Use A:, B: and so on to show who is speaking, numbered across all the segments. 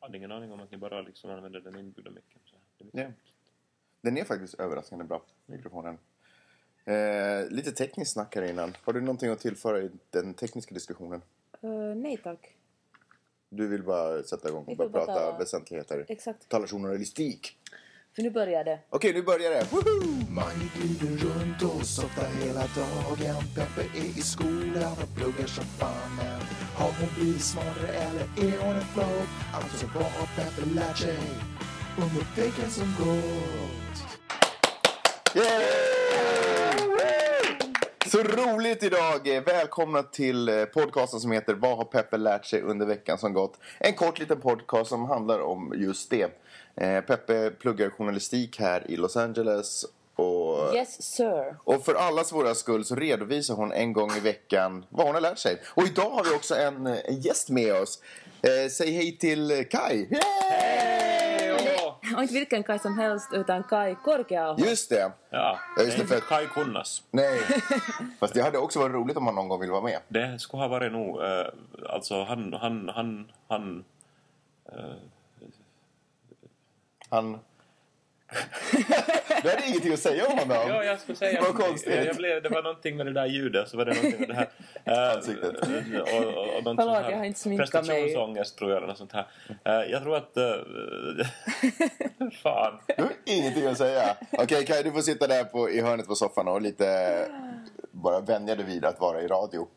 A: hade ingen aning om att ni bara liksom använde den inbyggda micken. Så det är
B: Ja. Den är faktiskt överraskande bra, mikrofonen. Eh, lite tekniskt snack här innan. Har du någonting att tillföra i den tekniska diskussionen?
C: Eh, nej tack.
B: Du vill bara sätta igång
C: Vi
B: och
C: får
B: börja prata
C: bara-
B: väsentligheter.
C: Exakt.
B: Talar journalistik.
C: För nu börjar det.
B: Okej, nu börjar det. Woho!
D: Man glider runt och softar hela dagen Peppe är i skolan och pluggar som fan Men har hon blivit smartare eller är hon en flop? Alltså vad har Peppe lärt sig under veckan som gått?
B: Yay! Så roligt idag! Välkomna till eh, podcasten som heter Vad har Peppe lärt sig under veckan som gått? En kort liten podcast som handlar om just det. Eh, Peppe pluggar journalistik här i Los Angeles och
C: Yes sir.
B: Och för allas våra skull så redovisar hon en gång i veckan vad hon har lärt sig. Och idag har vi också en, en gäst med oss. Eh, säg hej till Kai. Yay!
C: Och inte vilken Kaj som helst utan Kaj Korkeaho.
B: Just det.
A: Ja,
B: Ja, just det,
A: inte
B: för-
A: Kai Kunnas.
B: Nej. Fast det hade också varit roligt om han någon gång vill vara med.
A: Det skulle ha varit nog... Eh, alltså han... han, han, han eh,
B: Han... det hade ingenting att säga om honom.
A: Ja, jag skulle säga...
B: Vad konstigt.
A: Jag, jag blev, det var någonting med det där ljudet, så var det någonting med det här...
B: Ansiktet.
A: eh, och, och, och, och något
C: Förlåt,
A: sånt här
C: jag har inte sminkat mig.
A: Prestationsångest, tror jag, eller något sånt här. Eh, jag tror att... eh, fan.
B: Du har ingenting att säga. Okej Kai, du får sitta där på, i hörnet på soffan och lite bara vänja dig vid att vara i radio.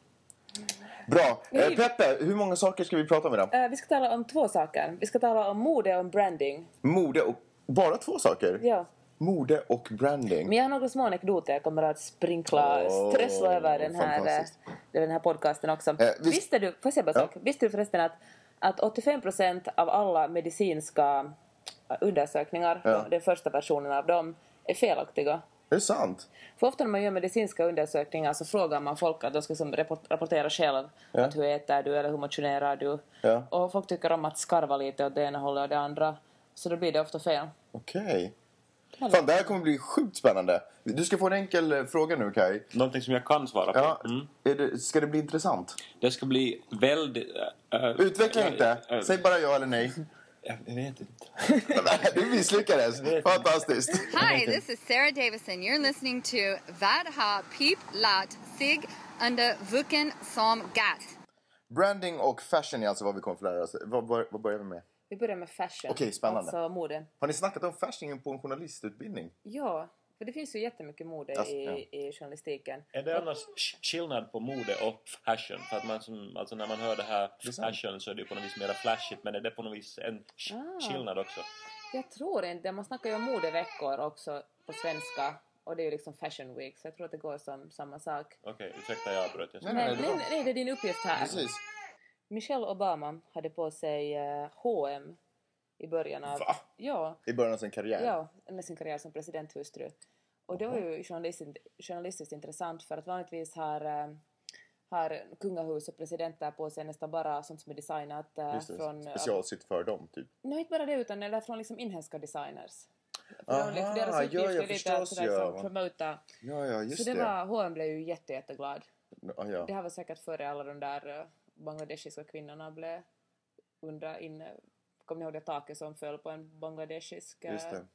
B: Bra. Eh, Peppe, hur många saker ska vi prata om idag?
C: Eh, vi ska tala om två saker. Vi ska tala om mode och om branding.
B: Mode och... Bara två saker?
C: Ja.
B: Mode och branding.
C: Men jag har några små anekdoter jag kommer att sprinkla,
B: Åh,
C: strössla över den här, eh,
B: fantastiskt.
C: den här podcasten också.
B: vi-
C: Visste du, får jag säga bara en
B: Ja.
C: sak? Visste du förresten att, att 85% av alla medicinska eh, undersökningar,
B: Ja.
C: den första versionen av dem, är felaktiga?
B: Är det sant?
C: För ofta när man gör medicinska undersökningar så frågar man folk att de ska som rapport- rapportera själv
B: Ja.
C: att hur äter du eller hur motionerar du.
B: Ja.
C: Och folk tycker om att skarva lite åt det ena hållet och det andra. Så då blir det ofta fel.
B: Okej. Fan, det här kommer bli sjukt spännande. Du ska få en enkel eh, fråga nu, Kai.
A: Någonting som jag kan svara på.
B: Ja,
A: Mm.
B: är det, ska det bli intressant?
A: Det ska bli väldigt... eh, eh,
B: Utveckla
A: eh, eh,
B: inte. Säg bara ja eller nej.
A: Jag vet inte.
B: Du misslyckades. Fantastiskt.
E: Hi, this is Sarah Davison. You're listening to Vadha Peep Lat Sig Under Vuken Som Gat.
B: Branding och fashion är alltså vad vi kommer få lära oss. Vad, vad, vad börjar vi med?
C: Vi börjar med fashion.
B: Okej, spännande.
C: Alltså mode.
B: Har ni snackat om fashion på en journalistutbildning?
C: Ja, för det finns ju jättemycket mode
B: Alltså,
C: i,
B: ja.
C: i journalistiken.
A: Är det annars sk- skillnad på mode och fashion? För att man som, alltså när man hör det här
B: Det är sant.
A: fashion så är det ju på något vis mera flashigt men är det på något vis en sk-
C: Ah.
A: skillnad också?
C: Jag tror inte, man snackar ju om modeveckor också på svenska och det är ju liksom fashion week så jag tror att det går som samma sak.
A: Okej, ursäkta jag avbröt. Jag ska-
B: Nej,
C: Men,
B: nej, det
C: nej,
B: var-
C: nej, det är din uppgift här.
B: Precis.
C: Michelle Obama hade på sig eh, H&M i början av...
B: Va?
C: Ja,
B: I början av sin karriär.
C: ja, under sin karriär som presidenthustru. Och det var ju journalistiskt, journalistiskt intressant för att vanligtvis har, eh, har kungahus och presidenter på sig nästan bara sånt som är designat eh,
B: Just det.
C: från... eh,
B: Specialsytt för dem, typ.
C: Nej, inte bara det, utan eller från liksom inhemska designers. För
B: Aha,
C: de- för deras
B: ja,
C: uppgift är
B: ja,
C: lite
B: förstås,
C: att sådär
B: ja.
C: som promota.
B: Ja, ja, just
C: Så det
B: det.
C: var, H&M blev ju jätte, jätteglad.
B: Ja, ja.
C: Det här var säkert före alla de där eh, bangladeshiska kvinnorna blev undra in... eh, Kommer ni ihåg det taket som föll på en bangladeshisk... eh,
B: Just det.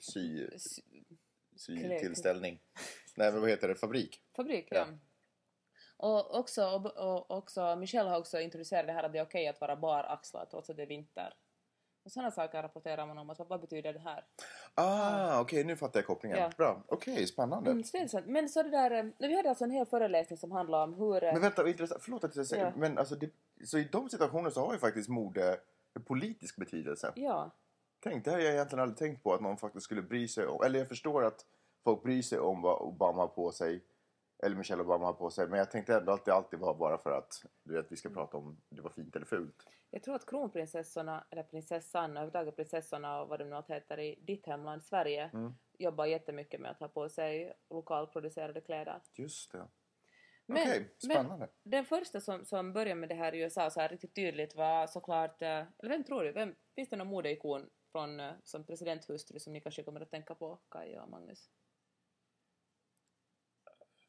B: Sy,
C: s- Klä-
B: sytillställning. Nej, men vad heter det? Fabrik?
C: fabrik.
B: Ja.
C: Ja. Och, också, och, och också, Michelle har också introducerat det här att det är okej att vara baraxlad trots att det är vinter. Och sådana saker rapporterar man om. Att, vad, vad betyder det här?
B: Ah, okej, nu fattar jag kopplingen.
C: Ja.
B: Bra. Okej, spännande.
C: Mm, så det är sant. Men så det där, eh, vi hade alltså en hel föreläsning som handlade om hur... eh,
B: Men vänta, vad intressant. Förlåt att jag säger
C: Ja.
B: men alltså det, så i de situationer så har ju faktiskt mode en politisk betydelse.
C: Ja,
B: Tänk, det här har jag egentligen aldrig tänkt på att någon faktiskt skulle bry sig om. Eller jag förstår att folk bryr sig om vad Obama har på sig. Eller Michelle Obama har på sig. Men jag tänkte ändå att det alltid var bara för att du vet, vi ska prata om det var fint eller fult.
C: jag tror att kronprinsessorna, eller prinsessan och överhuvudtaget prinsessorna och vad de nu allt heter i ditt hemland Sverige
B: Mm.
C: jobbar jättemycket med att ha på sig lokalproducerade kläder.
B: Just det.
C: Men-
B: Okej,
C: men-
B: spännande.
C: Den första som, som började med det här i USA så här riktigt tydligt var såklart, eh, eller vem tror du, vem, finns det någon modeikon från, eh, som presidenthustru som ni kanske kommer att tänka på, Kaja och Magnus?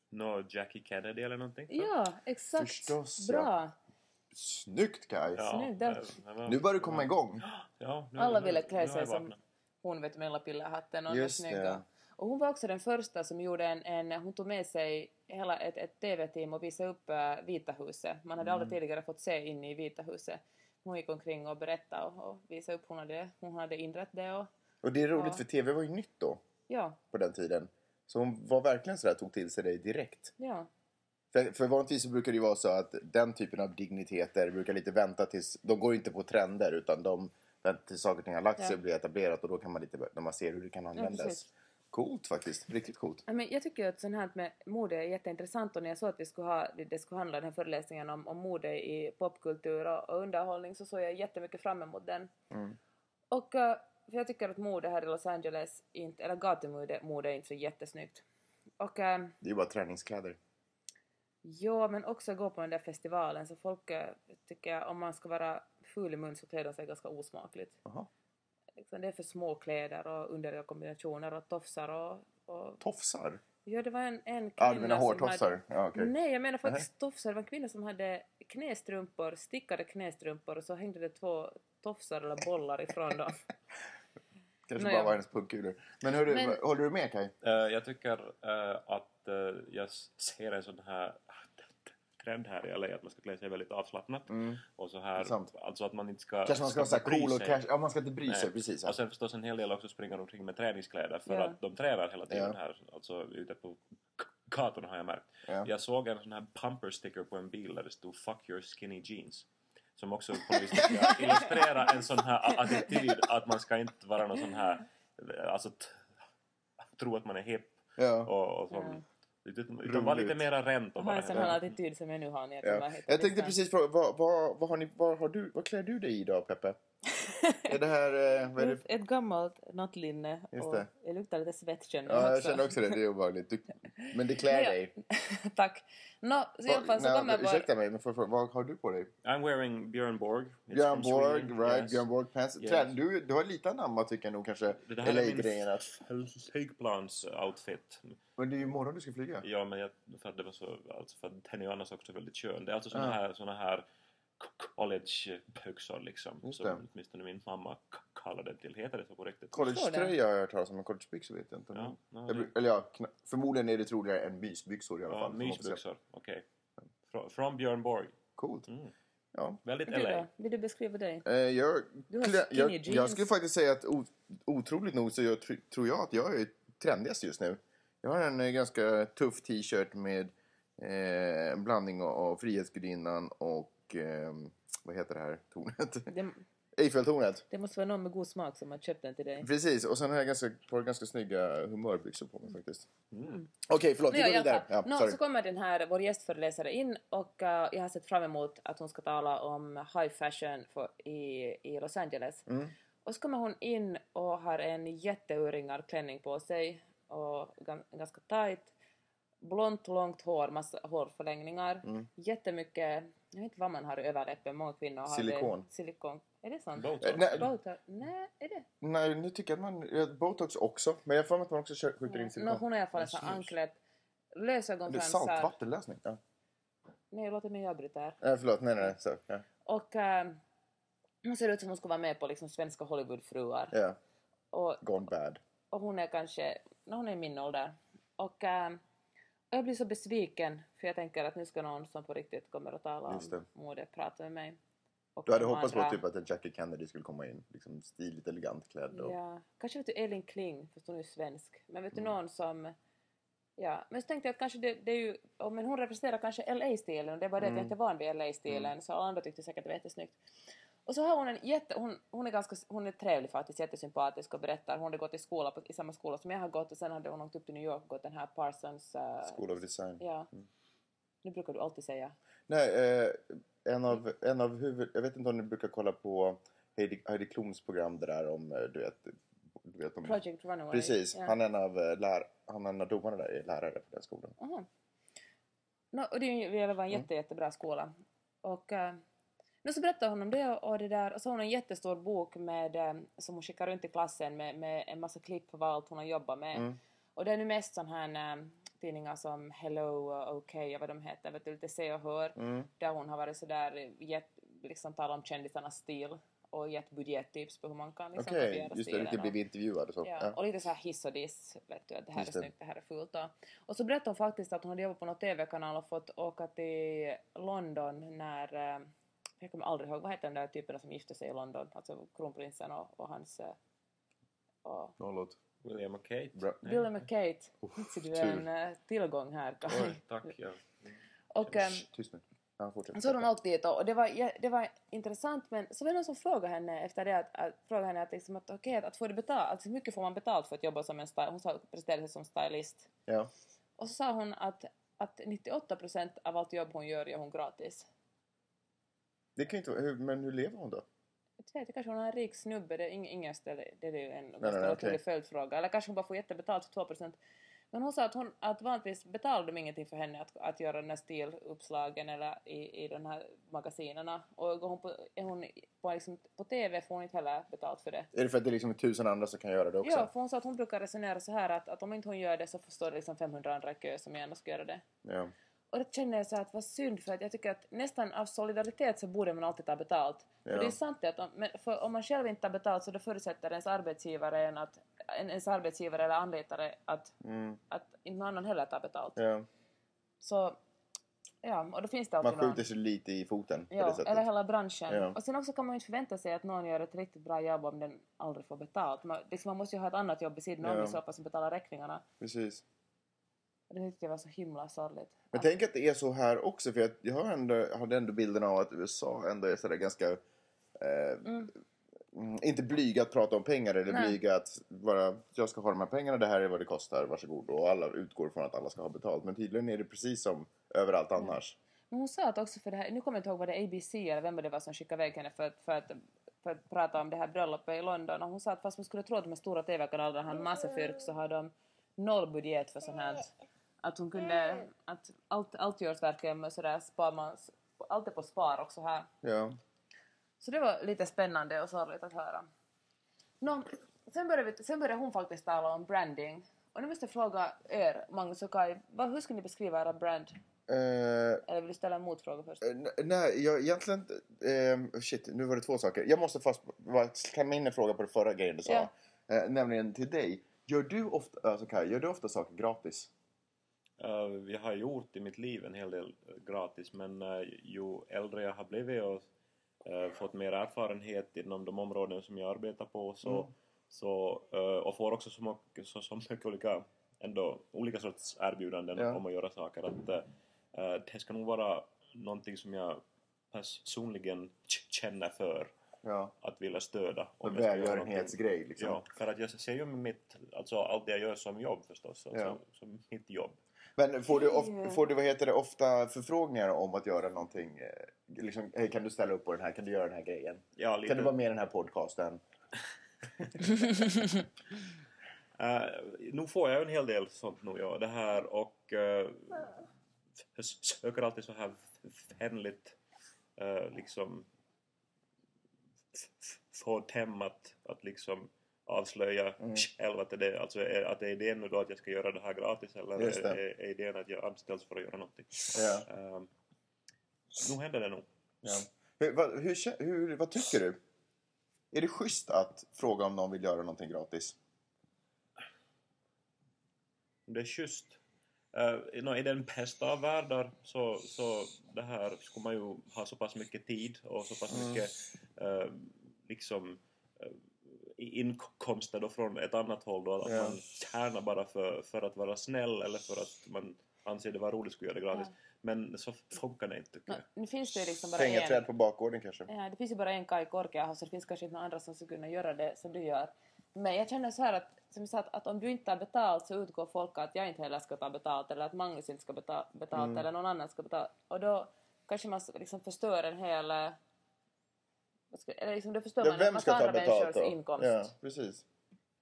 A: Nå, Jackie Kennedy eller någonting?
C: Ja, exakt!
B: Förstås,
C: Bra!
B: Snyggt Kaj!
C: Snyggt, där.
A: men- men-
B: Nu börjar du komma igång.
A: eh, Ja, nu,
C: Alla
A: nu-
C: ville
A: nu har
C: klä sig
A: jag
C: som
A: vaknat.
C: hon vet med hela pillerhatten och den
B: Just
C: snygga.
B: det.
C: Och hon var också den första som gjorde en, en hon tog med sig hela ett, ett TV-team och visade upp eh, Vita huset. Man hade
A: Mm.
C: aldrig tidigare fått se in i Vita huset. Hon gick omkring och berättade och, och visade upp hon hade, hon hade inrett det och
B: Och det är roligt
C: Ja.
B: för TV var ju nytt då.
C: ja,
B: På den tiden. Så hon var verkligen sådär, tog till sig dig direkt.
C: ja.
B: För, för vanligtvis så brukar det ju vara så att den typen av digniteter brukar lite vänta tills... De går inte på trender utan de väntar tills saker och ting har lagt sig
C: Ja.
B: och blir etablerat och då kan man lite börja- när man ser hur det kan användas.
C: precis.
B: coolt faktiskt, riktigt coolt.
C: Ja, Men jag tycker ju att sånt här med mode är jätteintressant och när jag såg att vi skulle ha, det skulle handla den här föreläsningen om, om mode i popkultur och, och underhållning så såg jag jättemycket fram emot den.
B: Mm.
C: Och eh, för jag tycker att mode här i Los Angeles, inte, eller gatumode mode är inte så jättesnyggt. Och eh,
B: Det är ju bara träningskläder.
C: ja, men också gå på den där festivalen så folk eh, tycker om man ska vara ful i mun så klär de sig ganska osmakligt.
B: Jaha.
C: Liksom, det är för små kläder och underliga kombinationer och tofsar och, och
B: Tofsar?
C: Ja, det var en, en
B: Ja,
C: kvinna
B: du menar
C: som
B: hårtofsar?
C: hade-
B: Ja, okej.
C: Nej, jag menar faktiskt tofsar. Det var en kvinna som hade knästrumpor, stickade knästrumpor och så hängde det två tofsar eller bollar ifrån dem.
B: Kanske
C: Nej,
B: bara
C: jag-
B: var hennes pungkulor. Men, hörru,
C: Men-
B: vad- håller du med Kaj?
A: Eh, jag tycker eh, att eh, jag ser en sån här trend här i LA att man ska klä sig väldigt avslappnat. Och så
B: Mm. Det
A: här,
B: är sant.
A: alltså att man inte ska...
B: Kanske man ska vara såhär
A: bry
B: cool och
A: sig.
B: cash. Ja, man ska inte bry sig.
A: Nej. Alltså,
B: Precis.
A: Och sen förstås en hel del också springer omkring med träningskläder för
C: Ja.
A: att de tränar hela tiden
B: Ja.
A: här, alltså ute på k- gatorna har jag märkt.
B: Ja.
A: Jag såg en sån här bumper sticker på en bil där det stod “Fuck your skinny jeans” som också på något vis tycker jag illustrerar en sån här a- attityd att man ska inte vara någon sån här, alltså t- tro att man är hip
B: Ja.
A: och, och sån,
C: Mm.
A: utan, utan vara lite
B: Roligt.
A: mera rent och
C: Och har
A: bara
C: en sån här attityd som jag nu har när jag kommer
B: Ja.
C: hit. Liksom.
B: Jag tänkte precis fråga, vad, vad, vad, har ni, vad, har du, vad klär du dig i idag Peppe? är det här, eh, vad är det?
C: Ett, ett gammalt nattlinne
B: Just
C: och
B: det.
C: det luktar lite svett känner
B: Ja, jag känner också det, det är obehagligt. Du, men det klär
C: Nej, jag-
B: dig.
C: Tack. Nå, så i alla fall så
B: Nej,
C: kommer jag bara...
B: ursäkta mig, men får jag fråga, vad har du på dig?
A: I'm wearing Björn Borg. It's
B: Björn
A: from
B: Borg,
A: Sweden,
B: right?
A: yes.
B: Björn Borg pants.
A: Yes.
B: Trä, du, du har lite anamma tycker jag nog kanske.
A: Det här är
B: LA-grejen
A: min
B: att-
A: fl- flygplans-outfit.
B: Men det är ju imorgon du ska flyga.
A: Ja, men jag, för att det var så, alltså för att den är ju annars också väldigt kön. Det är alltså såna
B: Ja.
A: här, såna här college-byxor liksom.
B: Just
A: Som
B: det.
A: åtminstone min mamma k- kallar det till. Heter det så på riktigt?
B: Collegetröja har jag hört talas om, men collegebyxor vet jag inte.
A: Ja, ja,
B: jag,
A: det-
B: bru- eller ja, kna- förmodligen är det troligare än mysbyxor i alla
A: Ja,
B: fall. får man säga.
A: mysbyxor. Okej. Frå- Från Björn Borg.
B: Coolt.
A: Mm.
B: Ja.
A: Väldigt
C: Du
A: LA.
C: då? Vill du beskriva dig?
B: Eh, jag,
C: Du har
B: klä- jag,
C: skinny
B: jag
C: jeans.
B: skulle faktiskt säga att o, otroligt nog så jag, tr- tror jag att jag är trendigast just nu. Jag har en eh, ganska tuff t-shirt med eh, en blandning av, av Frihetsgudinnan och ehm, vad heter det här tornet?
C: Det,
B: Eiffeltornet.
C: det måste vara någon med god smak som har köpt den till dig.
B: Precis, och sen har jag ganska, par ganska snygga humörbyxor på mig faktiskt.
C: Mm.
B: Okej, förlåt, vi går
C: i alla
B: vidare.
C: fall.
B: Ja,
C: Nå,
B: sorry.
C: så kommer den här, vår gästföreläsare in och eh, jag har sett fram emot att hon ska tala om high fashion för, i, i Los Angeles.
B: Mm.
C: Och så kommer hon in och har en jätteöringad klänning på sig och gan- ganska tight. Blont, långt hår, massa hårförlängningar.
B: Mm.
C: Jättemycket, jag vet inte vad man har i överläppen, många kvinnor har
B: Silikon.
C: det. Silikon. Är det sant?
A: Botox.
B: Eh, nej,
C: Botox? Nej, är det?
B: nej, nu tycker jag att man... eh, Botox också, men jag får för mig att man också kör- skjuter in
C: Nå,
B: silikon.
C: Mm, hon alltså har i alla fall en sån
B: Jesus.
C: anklet,
B: Det är
C: lösögonfransar.
B: saltvattenlösning. Ja.
C: Nej, låt mig avbryta här.
B: Eh, förlåt, nej, nej, nej. Så, ja.
C: Och eh, hon ser ut som hon skulle vara med på liksom, svenska Hollywoodfruar.
B: ja,
C: Och,
B: gone bad.
C: och hon är kanske, no, hon är i min ålder. Och eh, jag blir så besviken för jag tänker att nu ska någon som på riktigt kommer att tala
B: Just det.
C: om mode prata med mig. Och
B: Du hade
C: de
B: hoppats på
C: andra.
B: typ att en Jackie Kennedy skulle komma in. Liksom stiligt elegant klädd. Och...
C: Ja, kanske vet du Elin Kling, fast hon är ju svensk. Men vet du någon som... Ja, men så tänkte jag att kanske det, det är ju... oh, Men hon representerar kanske LA-stilen och det är bara det att jag inte är van vid LA-stilen så alla andra tyckte säkert det var jättesnyggt. Och så har hon en jätte... Hon, hon är ganska... Hon är trevlig faktiskt, jättesympatisk och berättar. Hon hade gått i skola på, i samma skola som jag har gått och sen hade hon åkt upp till New York och gått den här Parsons... eh,
B: School of Design.
C: Ja. Nu brukar du alltid säga.
B: Nej, eh, en av, en av huvud... Jag vet inte om ni brukar kolla på Heidi, Heidi Klums program det där om, eh, du vet... Du vet om...
C: Project Runaway.
B: Precis,
C: Ja.
B: han är en av, eh, lär, han är en av domarna där, är lärare på den skolan.
C: Aha. Nå, och det är ju- det var
B: Mm.
C: en jätte, jättebra skola. Och eh, nu så berättade hon om det och det där och så har hon en jättestor bok med, eh, som hon
B: Mm.
C: skickar runt i klassen med, med en massa klipp på vad allt hon har jobbat med. Och det är nu mest sån här eh, tidningar som Hello och OK och vad de heter, vet du, lite Se och Hör,
B: Mm.
C: där hon har varit sådär, gett, liksom talat om kändisarnas stil och gett budgettips på hur man kan liksom
B: Okej,
C: kopiera
B: just det. Lite
C: stilen och-
B: blivit intervjuad och så.
C: Ja, och lite så här hiss och diss, vet du, att det här
B: Just
C: är
B: det.
C: snyggt, det här är fult. Och, och så berättade hon faktiskt att hon hade jobbat på någon TV-kanal och fått åka till London när, eh, jag kommer aldrig ihåg, vad heter den där typen som gifte sig i London, alltså kronprinsen och, och hans, eh, och
B: Nollåt.
A: William och Kate.
B: Bra.
A: Nej.
C: William och Kate, ser du
B: tur.
C: en eh, tillgång här Kaj?
A: Oj, tack. Ja.
C: Och eh,
B: Shh, Tyst nu. Ja, fortsätt.
C: så har hon åkt dit och och det var, ja, det var intressant men så var det någon som frågade henne efter det att, att frågade henne att, liksom, att okej, att, att få det betalt, alltså hur mycket får man betalt för att jobba som en stylist? Hon sa- presenterade sig som stylist.
B: Ja.
C: Och så sa hon att, att 98% av allt jobb hon gör gör hon gratis.
B: Det kan ju inte vara... hur- Men hur lever hon då?
C: Jag vet inte, kanske hon är en rik snubbe, det är ing- ingen ställe, det är ju en ganska
B: nej,
C: naturlig
B: okej.
C: följdfråga. Eller kanske hon bara får jättebetalt för 2%. Men hon sa att, hon, att vanligtvis betalar de ingenting för henne att, att göra den här stiluppslagen eller i, i de här magasinerna. Och går hon på, är hon på, liksom, på TV får hon inte heller betalt för det.
B: Är det för att det är liksom tusen andra som kan göra det också?
C: Ja, för hon sa att hon brukar resonera så här att, att om inte hon gör det så förstår det liksom 500 andra i kö som gärna ska göra det.
B: Ja.
C: Och då känner jag så här att vad synd för att jag tycker att nästan av solidaritet så borde man alltid ta betalt.
B: Ja.
C: För det är sant det att om, men för om man själv inte tar betalt så då förutsätter ens arbetsgivare, en att, en, ens arbetsgivare eller anlitare att,
B: Mm.
C: att inte någon annan heller tar betalt.
B: ja.
C: Så ja, och då finns det alltid
B: Man
C: någon.
B: skjuter sig lite i foten på det
C: Ja,
B: sättet.
C: eller hela branschen.
B: Ja.
C: Och sen också kan man ju inte förvänta sig att någon gör ett riktigt bra jobb om den aldrig får betalt. Man, liksom, man måste ju ha ett annat jobb vid sidan om
B: Ja.
C: i så fall som betalar räkningarna.
B: Precis.
C: Och det tyckte jag var så himla sorgligt.
B: Men tänk att det är så här också, för jag, jag har ändå, hade ändå bilden av att USA ändå är sådär ganska... Eh, mm, Inte blyga att prata om pengar eller
C: Nej.
B: blyga att bara, jag ska ha de här pengarna, det här är vad det kostar, varsågod. Och alla utgår från att alla ska ha betalt. Men tydligen är det precis som överallt
C: Mm.
B: annars.
C: Men hon sa att också för det här, nu kommer jag inte ihåg vad det är, ABC eller vem det var som skickade iväg henne för att, för att, för att prata om det här bröllopet i London och hon sa att fast man skulle tro att de här stora TV-kanalerna har en massa fyrk så har de noll budget för sånt här. Att hon kunde, att allt, allt görs verkligen med sådär spar man, allt är på spar också här.
B: Ja.
C: Så det var lite spännande och sorgligt att höra. Nå, sen, började vi, sen började hon faktiskt tala om branding. Och nu måste jag fråga er, Magnus och Kai, vad, hur skulle ni beskriva era brand?
B: Eh,
C: Eller vill du ställa en motfråga först?
B: Eh, n- Nej, jag egentligen... Eh, shit, nu var det två saker. Jag måste fast va- klämma in en fråga på det förra grejen du sa.
C: Ja.
B: Eh, nämligen till dig. Gör du ofta, alltså Kaj, gör du ofta saker gratis?
A: Eh, jag har gjort i mitt liv en hel del eh, gratis men eh, ju äldre jag har blivit och eh, fått mer erfarenhet inom de områden som jag arbetar på så,
B: Mm.
A: så, eh, och får också så mycket, så, så mycket olika, ändå, olika sorts erbjudanden
B: Ja.
A: om att göra saker att eh, eh, det ska nog vara någonting som jag personligen k- känner för
B: Ja.
A: att vilja stödja. jag
B: En
A: ska göra någonting.
B: välgörenhetsgrej liksom.
A: Ja, för att jag ser ju mitt, alltså allt det jag gör som jobb förstås, alltså,
B: Ja.
A: som mitt jobb.
B: Men får du,
C: Mm.
B: of, får du vad heter det, ofta förfrågningar om att göra någonting? Eh, liksom, "Hej, kan du ställa upp på den här? Kan du göra den här grejen?
A: Ja, lite.
B: Kan du vara med i den här podcasten?
A: Eh, nu får jag ju en hel del sånt nu, ja, det här och eh, jag söker alltid så här vänligt eh, liksom få dem att, att liksom avslöja
B: Mm.
A: själv att det, är- alltså, är, att det är idén nu då att jag ska göra det här gratis eller
B: Just det.
A: är, är idén att jag anställs för att göra någonting.
B: Ja.
A: Eh, nu händer det nog.
B: Ja. Hur, vad, hur, kä- hur, vad tycker du? Är det schysst att fråga om någon vill göra någonting gratis?
A: Det är schysst. Eh, nå, I den bästa av världar så, så det här skulle man ju ha så pass mycket tid och så pass mycket eh, liksom eh, i- inkomster då från ett annat håll då att
B: Ja.
A: man tjänar bara för, för att vara snäll eller för att man anser det vara roligt skulle göra det gratis. Men så funkar det inte tycker
C: Nå,
A: jag.
C: nu finns det ju liksom bara en...
B: Pengaträd på bakgården kanske?
C: Ja, det finns ju bara en Kaj Korkeaho så det finns kanske inte några andra som skulle kunna göra det som du gör. Men jag känner så här att, som jag sa, att, att om du inte har betalt så utgår folk att jag inte heller ska ta betalt eller att Magnus inte ska betala betalt
B: Mm.
C: eller någon annan ska betala. Och då kanske man s- liksom förstör en hel... eh, vad ska- Eller liksom, då förstör
B: Ja,
C: man en
B: vem
C: massa
B: ska ta
C: andra
B: betalt
C: människors
B: då?
C: inkomst.
B: Ja, precis.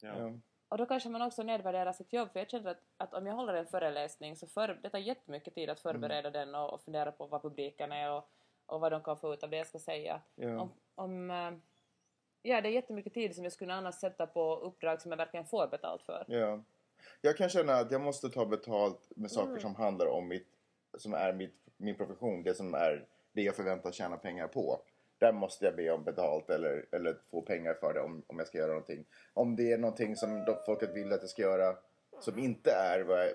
A: Ja.
B: Ja.
C: Och då kanske man också nedvärderar sitt jobb för jag känner att, att om jag håller en föreläsning så för, det tar jättemycket tid att
B: Mm.
C: förbereda den och, och fundera på vad publiken är och, och vad de kan få ut av det jag ska säga.
B: Ja.
C: Om, om, eh, ja, det är jättemycket tid som jag skulle annars sätta på uppdrag som jag verkligen får betalt för.
B: Ja. Jag kan känna att jag måste ta betalt med saker som handlar om mitt, som är mitt, min profession, det som är det jag förväntas tjäna pengar på. Där måste jag be om betalt eller, eller få pengar för det om, om jag ska göra någonting. Om det är någonting som de- folket vill att jag ska göra som inte är vad jag,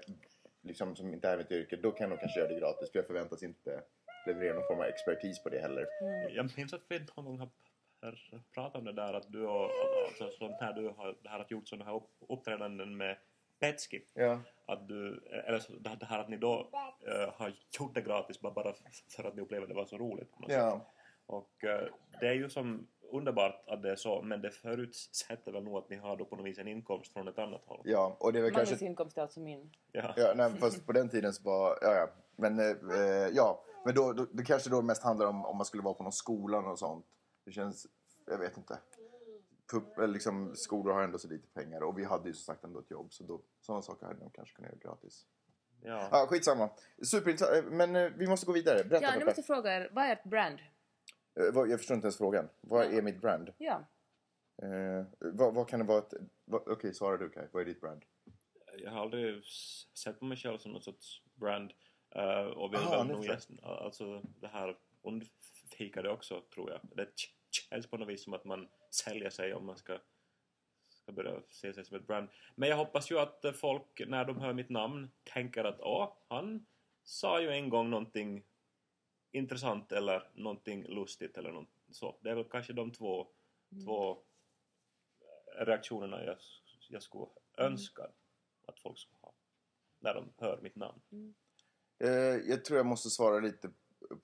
B: liksom, som inte är mitt yrke, då kan jag nog kanske göra det gratis för jag förväntas inte leverera någon form av expertis på det heller.
A: Jag minns att vi någon gång har har pratat om det där att du och, alltså, sånt här, du har, det här att gjort sådana här upp, uppträdanden med Petski.
B: Ja.
A: Att du, eller så, det här- det här att ni då eh, har gjort det gratis bara, bara f- för att ni upplevde det var så roligt. på något sätt.
B: Ja.
A: Och eh, det är ju som underbart att det är så men det förutsätter väl nog att ni har då på något vis en inkomst från ett annat håll.
B: ja, och det är väl
C: Magnus
B: kanske...
C: inkomst är alltså min.
A: Ja.
B: Ja, nej, men fast på den tiden så var... Ja, ja. Men, eh, eh, ja. men då, då, det kanske då mest handlar om om man skulle vara på någon skola och sånt. Det känns... Jag vet inte. Pup, eller liksom, skolor har ändå så lite pengar och vi hade ju som sagt ändå ett jobb så då, sådana saker hade de kanske kunnat göra gratis.
A: Ja.
B: Ja, ah, skitsamma. Superintressant. eh, Men eh, vi måste gå vidare. Berätta,
C: Ja, nu
B: Peppe.
C: måste jag fråga er, vad är ert brand?
B: Eh, vad- Jag förstår inte ens frågan. Vad är mitt brand?
C: Ja.
B: Eh, vad, vad kan det vara ett... vad- Okej, Sara du Kaj. Vad är ditt brand?
A: jag har aldrig s- sett på mig själv som någon sorts brand. eh, och vill
B: Ah,
A: väl
B: nu
A: nog
B: förstår
A: gäst, alltså det här undvika det också tror jag. Det k- känns på något vis som att man säljer sig om man ska, ska börja se sig som ett brand. Men jag hoppas ju att eh, folk när de hör mitt namn tänker att ja, han sa ju en gång någonting intressant eller någonting lustigt eller något så. Det är väl kanske de två, två reaktionerna jag, jag skulle önska att folk skulle ha när de hör mitt namn.
B: Eh, jag tror jag måste svara lite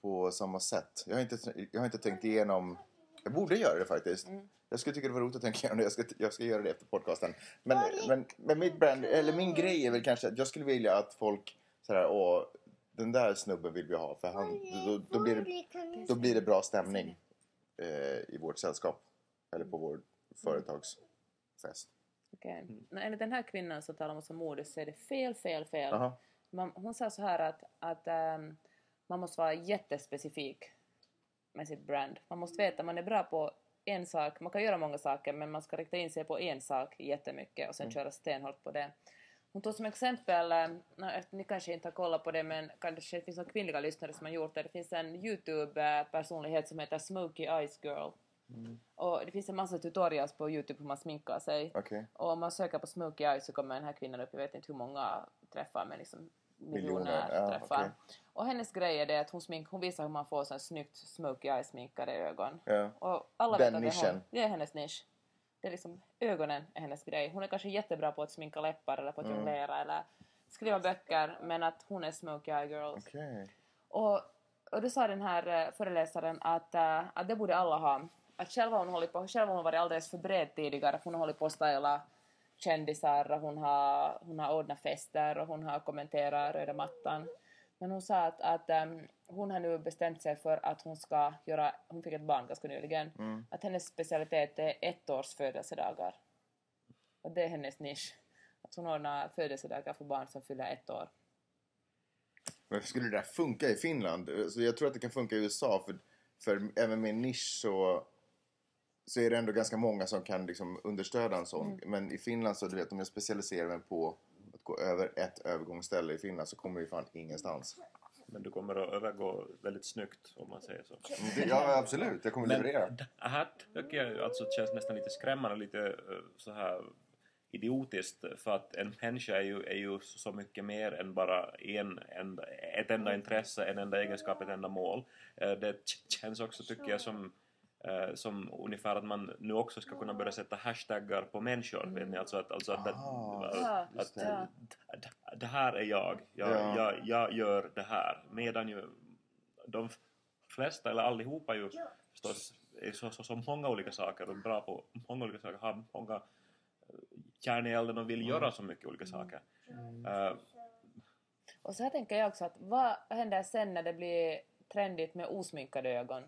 B: på samma sätt. Jag har inte, jag har inte tänkt igenom... Jag borde göra det faktiskt. Jag skulle tycka det var roligt att tänka igenom det. Jag ska, jag ska göra det efter podcasten. Men, men, men mitt brand, eller min grej är väl kanske att jag skulle vilja att folk sådär, åh, den där snubben vill vi ha för han, då, då, blir det, då blir det bra stämning eh, i vårt sällskap. Eller på vår företagsfest.
C: Okej.
B: Mm.
C: Nå, Enligt den här kvinnan som talar om oss om mode så är det fel, fel, fel.
B: Aha.
C: Man, hon sa så här att, att ehm, man måste vara jättespecifik med sitt brand. Man måste veta att man är bra på en sak. Man kan göra många saker men man ska rikta in sig på en sak jättemycket och sen köra stenhårt på det. Hon tog som exempel, eh, nå, efter- ni kanske inte har kollat på det men kanske det finns några kvinnliga lyssnare som har gjort det. Det finns en Youtube-personlighet som heter Smoky Eyes Girl. Och det finns en massa tutorials på Youtube hur man sminkar sig.
B: Okej.
C: Och om man söker på Smokey Eyes så kommer den här kvinnan upp, jag vet inte hur många träffar men liksom miljoner,
B: Miljoner, ja,
C: träffar.
B: okej.
C: Och hennes grej är det att hon, smink, hon visar hur man får sån snyggt Smokey Eyes sminkade ögon.
B: Ja.
C: Och alla
B: Den
C: vet att Det är,
B: nischen.
C: hon. det är hennes nisch. Det är liksom, ögonen är hennes grej. Hon är kanske jättebra på att sminka läppar eller på att
B: Mm.
C: jonglera eller skriva böcker men att hon är Smokey Eye Girls.
B: Okej.
C: Och, och då sa den här eh, föreläsaren att, eh, att det borde alla ha. Att själv har hon hållit på, själv har hon varit alldeles för bred tidigare. för Hon har hållit på att styla kändisar och hon har, hon har ordnat fester och hon har kommenterat röda mattan. Men hon sa att, att ehm, hon har nu bestämt sig för att hon ska göra, hon fick ett barn ganska nyligen, att hennes specialitet är ettårs födelsedagar. Och det är hennes nisch. Att hon ordnar födelsedagar för barn som fyller ett år.
B: Men skulle det där funka i Finland? Så jag tror att det kan funka i USA. För, för även med en nisch så, så är det ändå ganska många som kan liksom understöda en sån. Men i Finland så, du vet, om jag specialiserar mig på att gå över ett övergångsställe i Finland så kommer vi fan ingenstans.
A: Men du kommer att övergå väldigt snyggt om man säger så.
B: Men det- Ja, absolut. Jag kommer leverera.
A: det här tycker jag alltså känns nästan lite skrämmande, lite eh, så här idiotiskt för att en människa är ju, är ju så mycket mer än bara en, en, ett enda intresse, en enda egenskap, ett enda mål. Eh, Det k- känns också tycker jag som, eh, som ungefär att man nu också ska kunna börja sätta hashtaggar på människor. Vet ni? Alltså att, alltså att,
B: Ah,
A: att, att,
B: just det.
A: d- det här är jag. Jag,
B: Ja.
A: jag, jag gör det här. Medan ju de f- flesta, eller allihopa ju förstås, är så, så, så många olika saker och bra på många olika saker, har många eh, kärn i elden och vill göra så mycket olika saker. Eh,
C: Och så här tänker jag också att vad händer sen när det blir trendigt med osminkade ögon?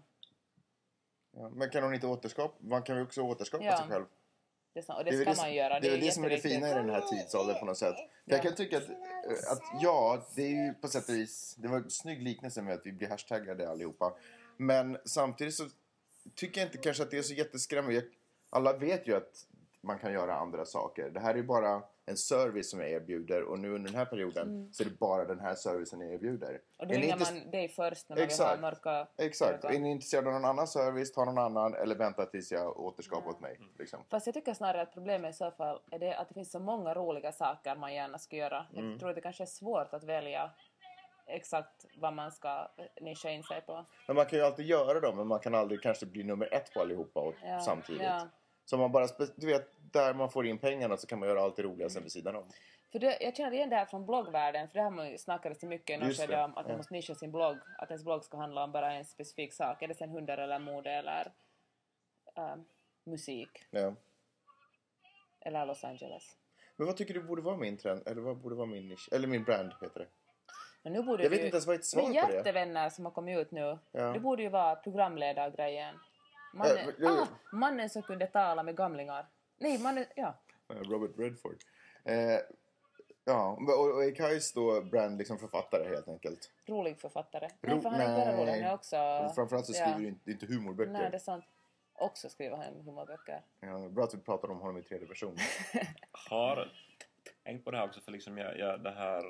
B: Ja, men kan hon inte återskapa? Man kan ju också återskapa
C: Ja.
B: sig själv.
C: Det är så, och det,
B: är
C: ska
B: väl
C: man göra.
B: Det, är väl det som är det
C: jätteviktigt.
B: fina i den här tidsåldern på något sätt. För Jag
C: Ja.
B: kan tycka att, att ja, det är ju på sätt och vis, det var en snygg liknelse med att vi blir hashtaggade allihopa. Men samtidigt så tycker jag inte kanske att det är så jätteskrämmande. Jag- Alla vet ju att man kan göra andra saker. Det här är ju bara en service som jag erbjuder och nu under den här perioden så är det bara den här servicen jag erbjuder.
C: Mm. Och då
B: Är ni
C: ringer
B: inte-
C: man dig först när man
B: Exakt.
C: vill ha mörka
B: Exakt.
C: ögon.
B: Är ni intresserade av någon annan service, ta någon annan eller vänta tills jag återskapar
C: Mm.
B: åt mig. Liksom.
C: Fast jag tycker snarare att problemet i så fall är det att det finns så många roliga saker man gärna ska göra.
B: Mm.
C: Jag tror det kanske är svårt att välja exakt vad man ska nischa in sig på.
B: Men man kan ju alltid göra dem, men man kan aldrig kanske bli nummer ett på allihopa och,
C: Ja,
B: samtidigt.
C: ja.
B: Så man bara, spe- du vet, där man får in pengarna så kan man göra allt det roliga sen vid sidan om.
C: För det, jag känner igen det här från bloggvärlden, för det har man ju snackat så mycket i något
B: Just
C: skede
B: det,
C: om att
B: ja.
C: man måste nischa sin blogg, att ens blogg ska handla om bara en specifik sak, är det sen hundar eller mode eller ehm, musik
B: Ja.
C: eller Los Angeles.
B: Men vad tycker du borde vara min trend? Eller vad borde vara min nisch? Eller min brand heter det.
C: Men nu borde
B: Jag
C: du-
B: vet inte ens vad ett svar
C: Men
B: på det är.
C: hjärtevänner som har kommit ut nu,
B: Ja.
C: det borde ju vara programledargrejen. Mannen,
B: Äh, men-
C: ah, mannen som kunde tala med gamlingar. Nej, mannen, ja.
B: Eh, Robert Redford. Eh, ja, och, och är Kajs då brand liksom författare helt enkelt?
C: Rolig författare. Nej,
B: Ro-
C: för han är
B: nej.
C: bara rolig. Han är också...
B: Och framförallt så
C: ja.
B: skriver du inte, inte humorböcker.
C: Nej, det är sant. Också skriver han humorböcker.
B: ja, bra att vi pratar om honom i tredje person.
A: har tänkt på det här också för liksom jag, jag det här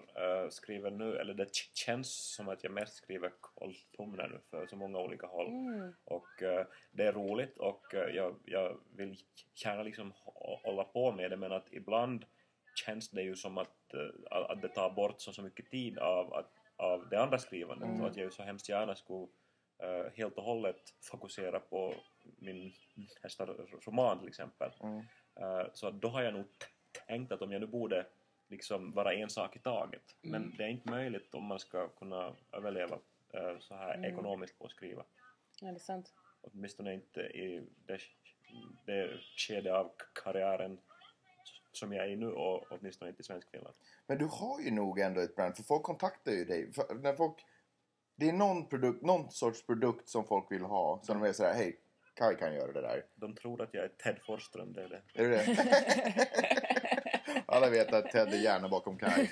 A: eh, skriver nu, eller det k- känns som att jag mest skriver kolumner nu för så många olika håll. Och eh, det är roligt och eh, jag, jag vill gärna liksom hå- hålla på med det men att ibland känns det ju som att, eh, att det tar bort så, så mycket tid av, att, av det andra skrivandet och att jag ju så hemskt gärna skulle eh, helt och hållet fokusera på min nästa roman till exempel. Eh, Så att då har jag nog t- tänkt att om jag nu borde liksom vara en sak i taget. Men det är inte möjligt om man ska kunna överleva eh, så här ekonomiskt på att skriva.
C: Ja, det är sant.
A: Åtminstone inte i det, det skede av k- karriären som jag är i nu och åtminstone inte i svensk film.
B: Men du har ju nog ändå ett brand, för folk kontaktar ju dig. För när folk, det är någon, produkt, någon sorts produkt som folk vill ha, så de är sådär, hej, Kaj kan göra det där.
A: De tror att jag är Ted Forsström, det är det.
B: Är det det? Alla vet att Ted är gärna bakom Kaj.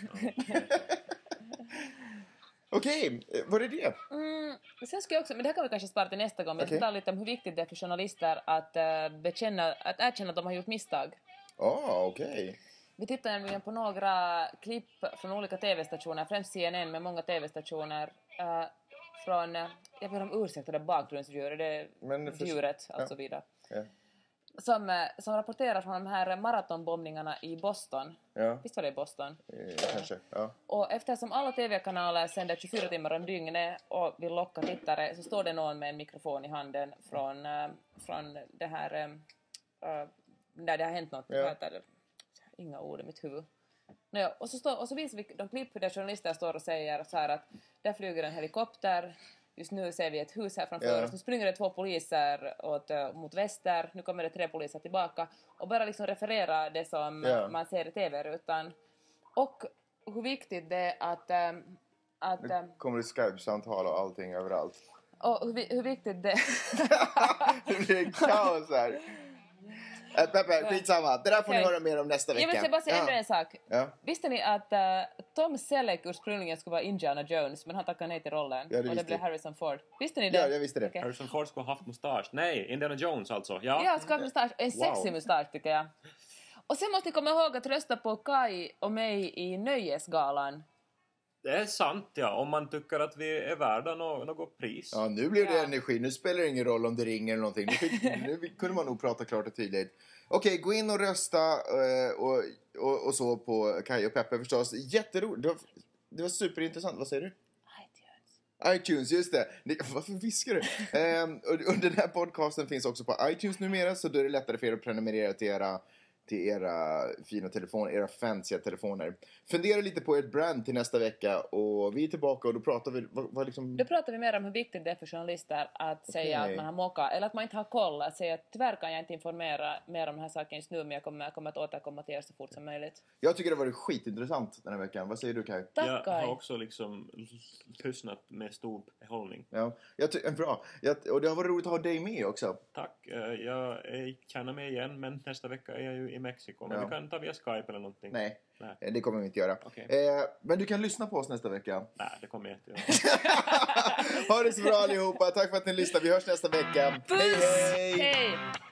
B: Okej, eh, var det det?
C: Mm, men sen ska jag också, men det här kan vi kanske spara till nästa gång, men jag ska
B: Okej.
C: tala lite om hur viktigt det är för journalister att, eh, bekänna, att erkänna att de har gjort misstag.
B: Ja, okej.
C: Vi tittar nämligen på några klipp från olika TV-stationer, främst CNN men många TV-stationer. eh, från, eh, jag ber om ursäkt för det bakgrundsdjuret, det är
B: Men det först-
C: djuret och
B: ja.
C: så vidare.
B: Ja.
C: Som, eh, som rapporterar från de här maratonbombningarna i Boston.
B: Ja,
C: Visst var det i Boston?
B: eh, kanske. Ja.
C: Och eftersom alla TV-kanaler sänder 24 timmar om dygnet och vill locka tittare så står det någon med en mikrofon i handen från, eh, från det här... eh, eh, där det har hänt något.
B: Ja.
C: Vad heter det? Inga ord i mitt huvud. Nåja, och, så står, och så visar vi de klipp där journalister står och säger så här att där flyger en helikopter, just nu ser vi ett hus här framför
B: Ja.
C: oss, nu springer det två poliser åt, eh, mot väster, nu kommer det tre poliser tillbaka och bara liksom referera det som
B: Ja.
C: eh, man ser i TV-rutan. Och hur viktigt det är att... ehm, att ehm,
B: Nu kommer det Skype-samtal och allting överallt.
C: och hur, vi- hur viktigt det...
B: Det blir kaos här. Äh, Peppe, skitsamma. Det där får ni
C: Okej.
B: höra mer om nästa vecka.
C: Jag vill bara säga
B: Ja.
C: ännu en sak.
B: Ja.
C: Visste ni att eh, Tom Selleck ursprungligen skulle vara Indiana Jones men han tackade nej till rollen
B: Ja, det
C: och
B: visste
C: det blev
B: jag.
C: Harrison Ford. Visste ni det?
B: Ja, jag visste det.
C: Okej.
A: Harrison Ford skulle ha haft mustasch. Nej, Indiana Jones alltså. Ja.
C: Ja, ska ha mustasch. En sexig
A: Wow.
C: mustasch tycker jag. Och sen måste ni komma ihåg att rösta på Kai och mig i Nöjesgalan.
A: Det är sant ja, om man tycker att vi är värda nå- något pris.
B: Ja, nu blev det
C: Ja.
B: energi. Nu spelar det ingen roll om det ringer eller någonting. Nu, fick, nu kunde man nog prata klart och tydligt. Okej, gå in och rösta eh, och, och, och så på Kaj och Peppe förstås. Jätteroligt. Det var, det var superintressant. Vad säger du? iTunes, just det. Ni, varför viskar du? Ehm, och, och den här podcasten finns också på iTunes numera så då är det lättare för er att prenumerera till era, till era fina telefoner, era fancy telefoner. Fundera lite på ert brand till nästa vecka och vi är tillbaka och då pratar vi... Vad, vad liksom...
C: Då pratar vi mer om hur viktigt det är för journalister att säga
B: Okej.
C: att man har mockat eller att man inte har koll. Att säga att tyvärr kan jag inte informera mer om den här saken just nu men jag kommer, jag kommer att återkomma till er så fort som möjligt.
B: Jag tycker det har varit skitintressant den här veckan. Vad säger du Kaj?
C: Tack
A: Jag har
C: Kai!
A: också liksom l- lyssnat med stor behållning.
B: Ja, jag ty- bra. Jag, och det har varit roligt att ha dig med också.
A: Tack, eh, jag är- känner mig igen men nästa vecka är jag ju i Mexiko. Men
B: Ja.
A: vi kan ta via Skype eller någonting.
B: Nej,
A: Nej.
B: eh, det kommer vi inte göra.
A: Okej.
B: Eh, men du kan lyssna på oss nästa vecka.
A: Nej, det kommer jag inte göra.
B: Ha det så bra allihopa. Tack för att ni lyssnade. Vi hörs nästa vecka. Hej, hej!
C: Hej!